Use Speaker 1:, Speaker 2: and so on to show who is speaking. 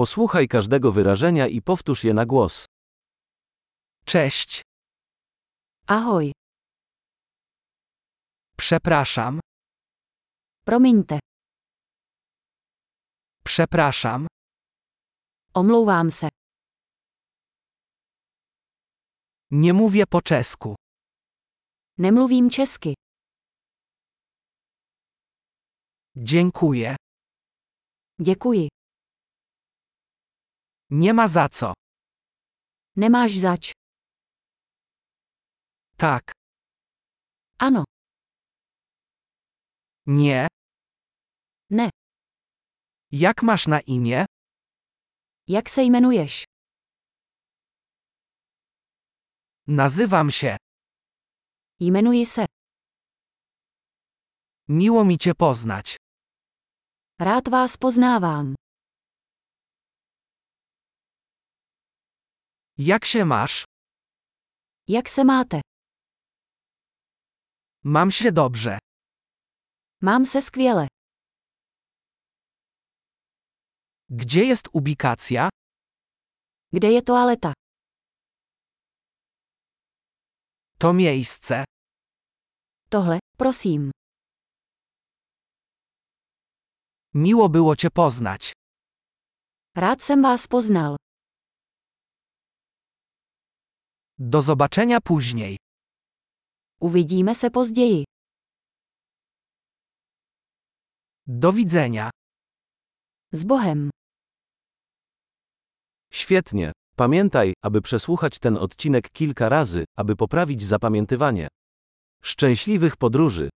Speaker 1: Posłuchaj każdego wyrażenia i powtórz je na głos.
Speaker 2: Cześć,
Speaker 3: Ahoj,
Speaker 2: przepraszam,
Speaker 3: promiňte,
Speaker 2: przepraszam,
Speaker 3: omlouvám se,
Speaker 2: nie mówię po czesku,
Speaker 3: nemluvím česky,
Speaker 2: dziękuję,
Speaker 3: děkuji,
Speaker 2: nie ma za co,
Speaker 3: nemáš zač,
Speaker 2: tak,
Speaker 3: ano,
Speaker 2: nie,
Speaker 3: ne,
Speaker 2: jak masz na imię,
Speaker 3: jak se jmenuješ,
Speaker 2: nazywam się,
Speaker 3: jmenuji se,
Speaker 2: miło mi cię poznać,
Speaker 3: rád vás poznávám,
Speaker 2: jak się masz,
Speaker 3: jak se máte,
Speaker 2: mam się dobrze,
Speaker 3: mám se skvěle,
Speaker 2: gdzie jest ubikacja,
Speaker 3: kde je toaleta,
Speaker 2: to miejsce,
Speaker 3: tohle, prosím,
Speaker 2: miło było cię poznać,
Speaker 3: rád jsem vás poznal,
Speaker 2: do zobaczenia później,
Speaker 3: uvidíme se později,
Speaker 2: do widzenia.
Speaker 3: s Bohem.
Speaker 1: Świetnie. Pamiętaj, aby przesłuchać ten odcinek kilka razy, aby poprawić zapamiętywanie. Szczęśliwych podróży!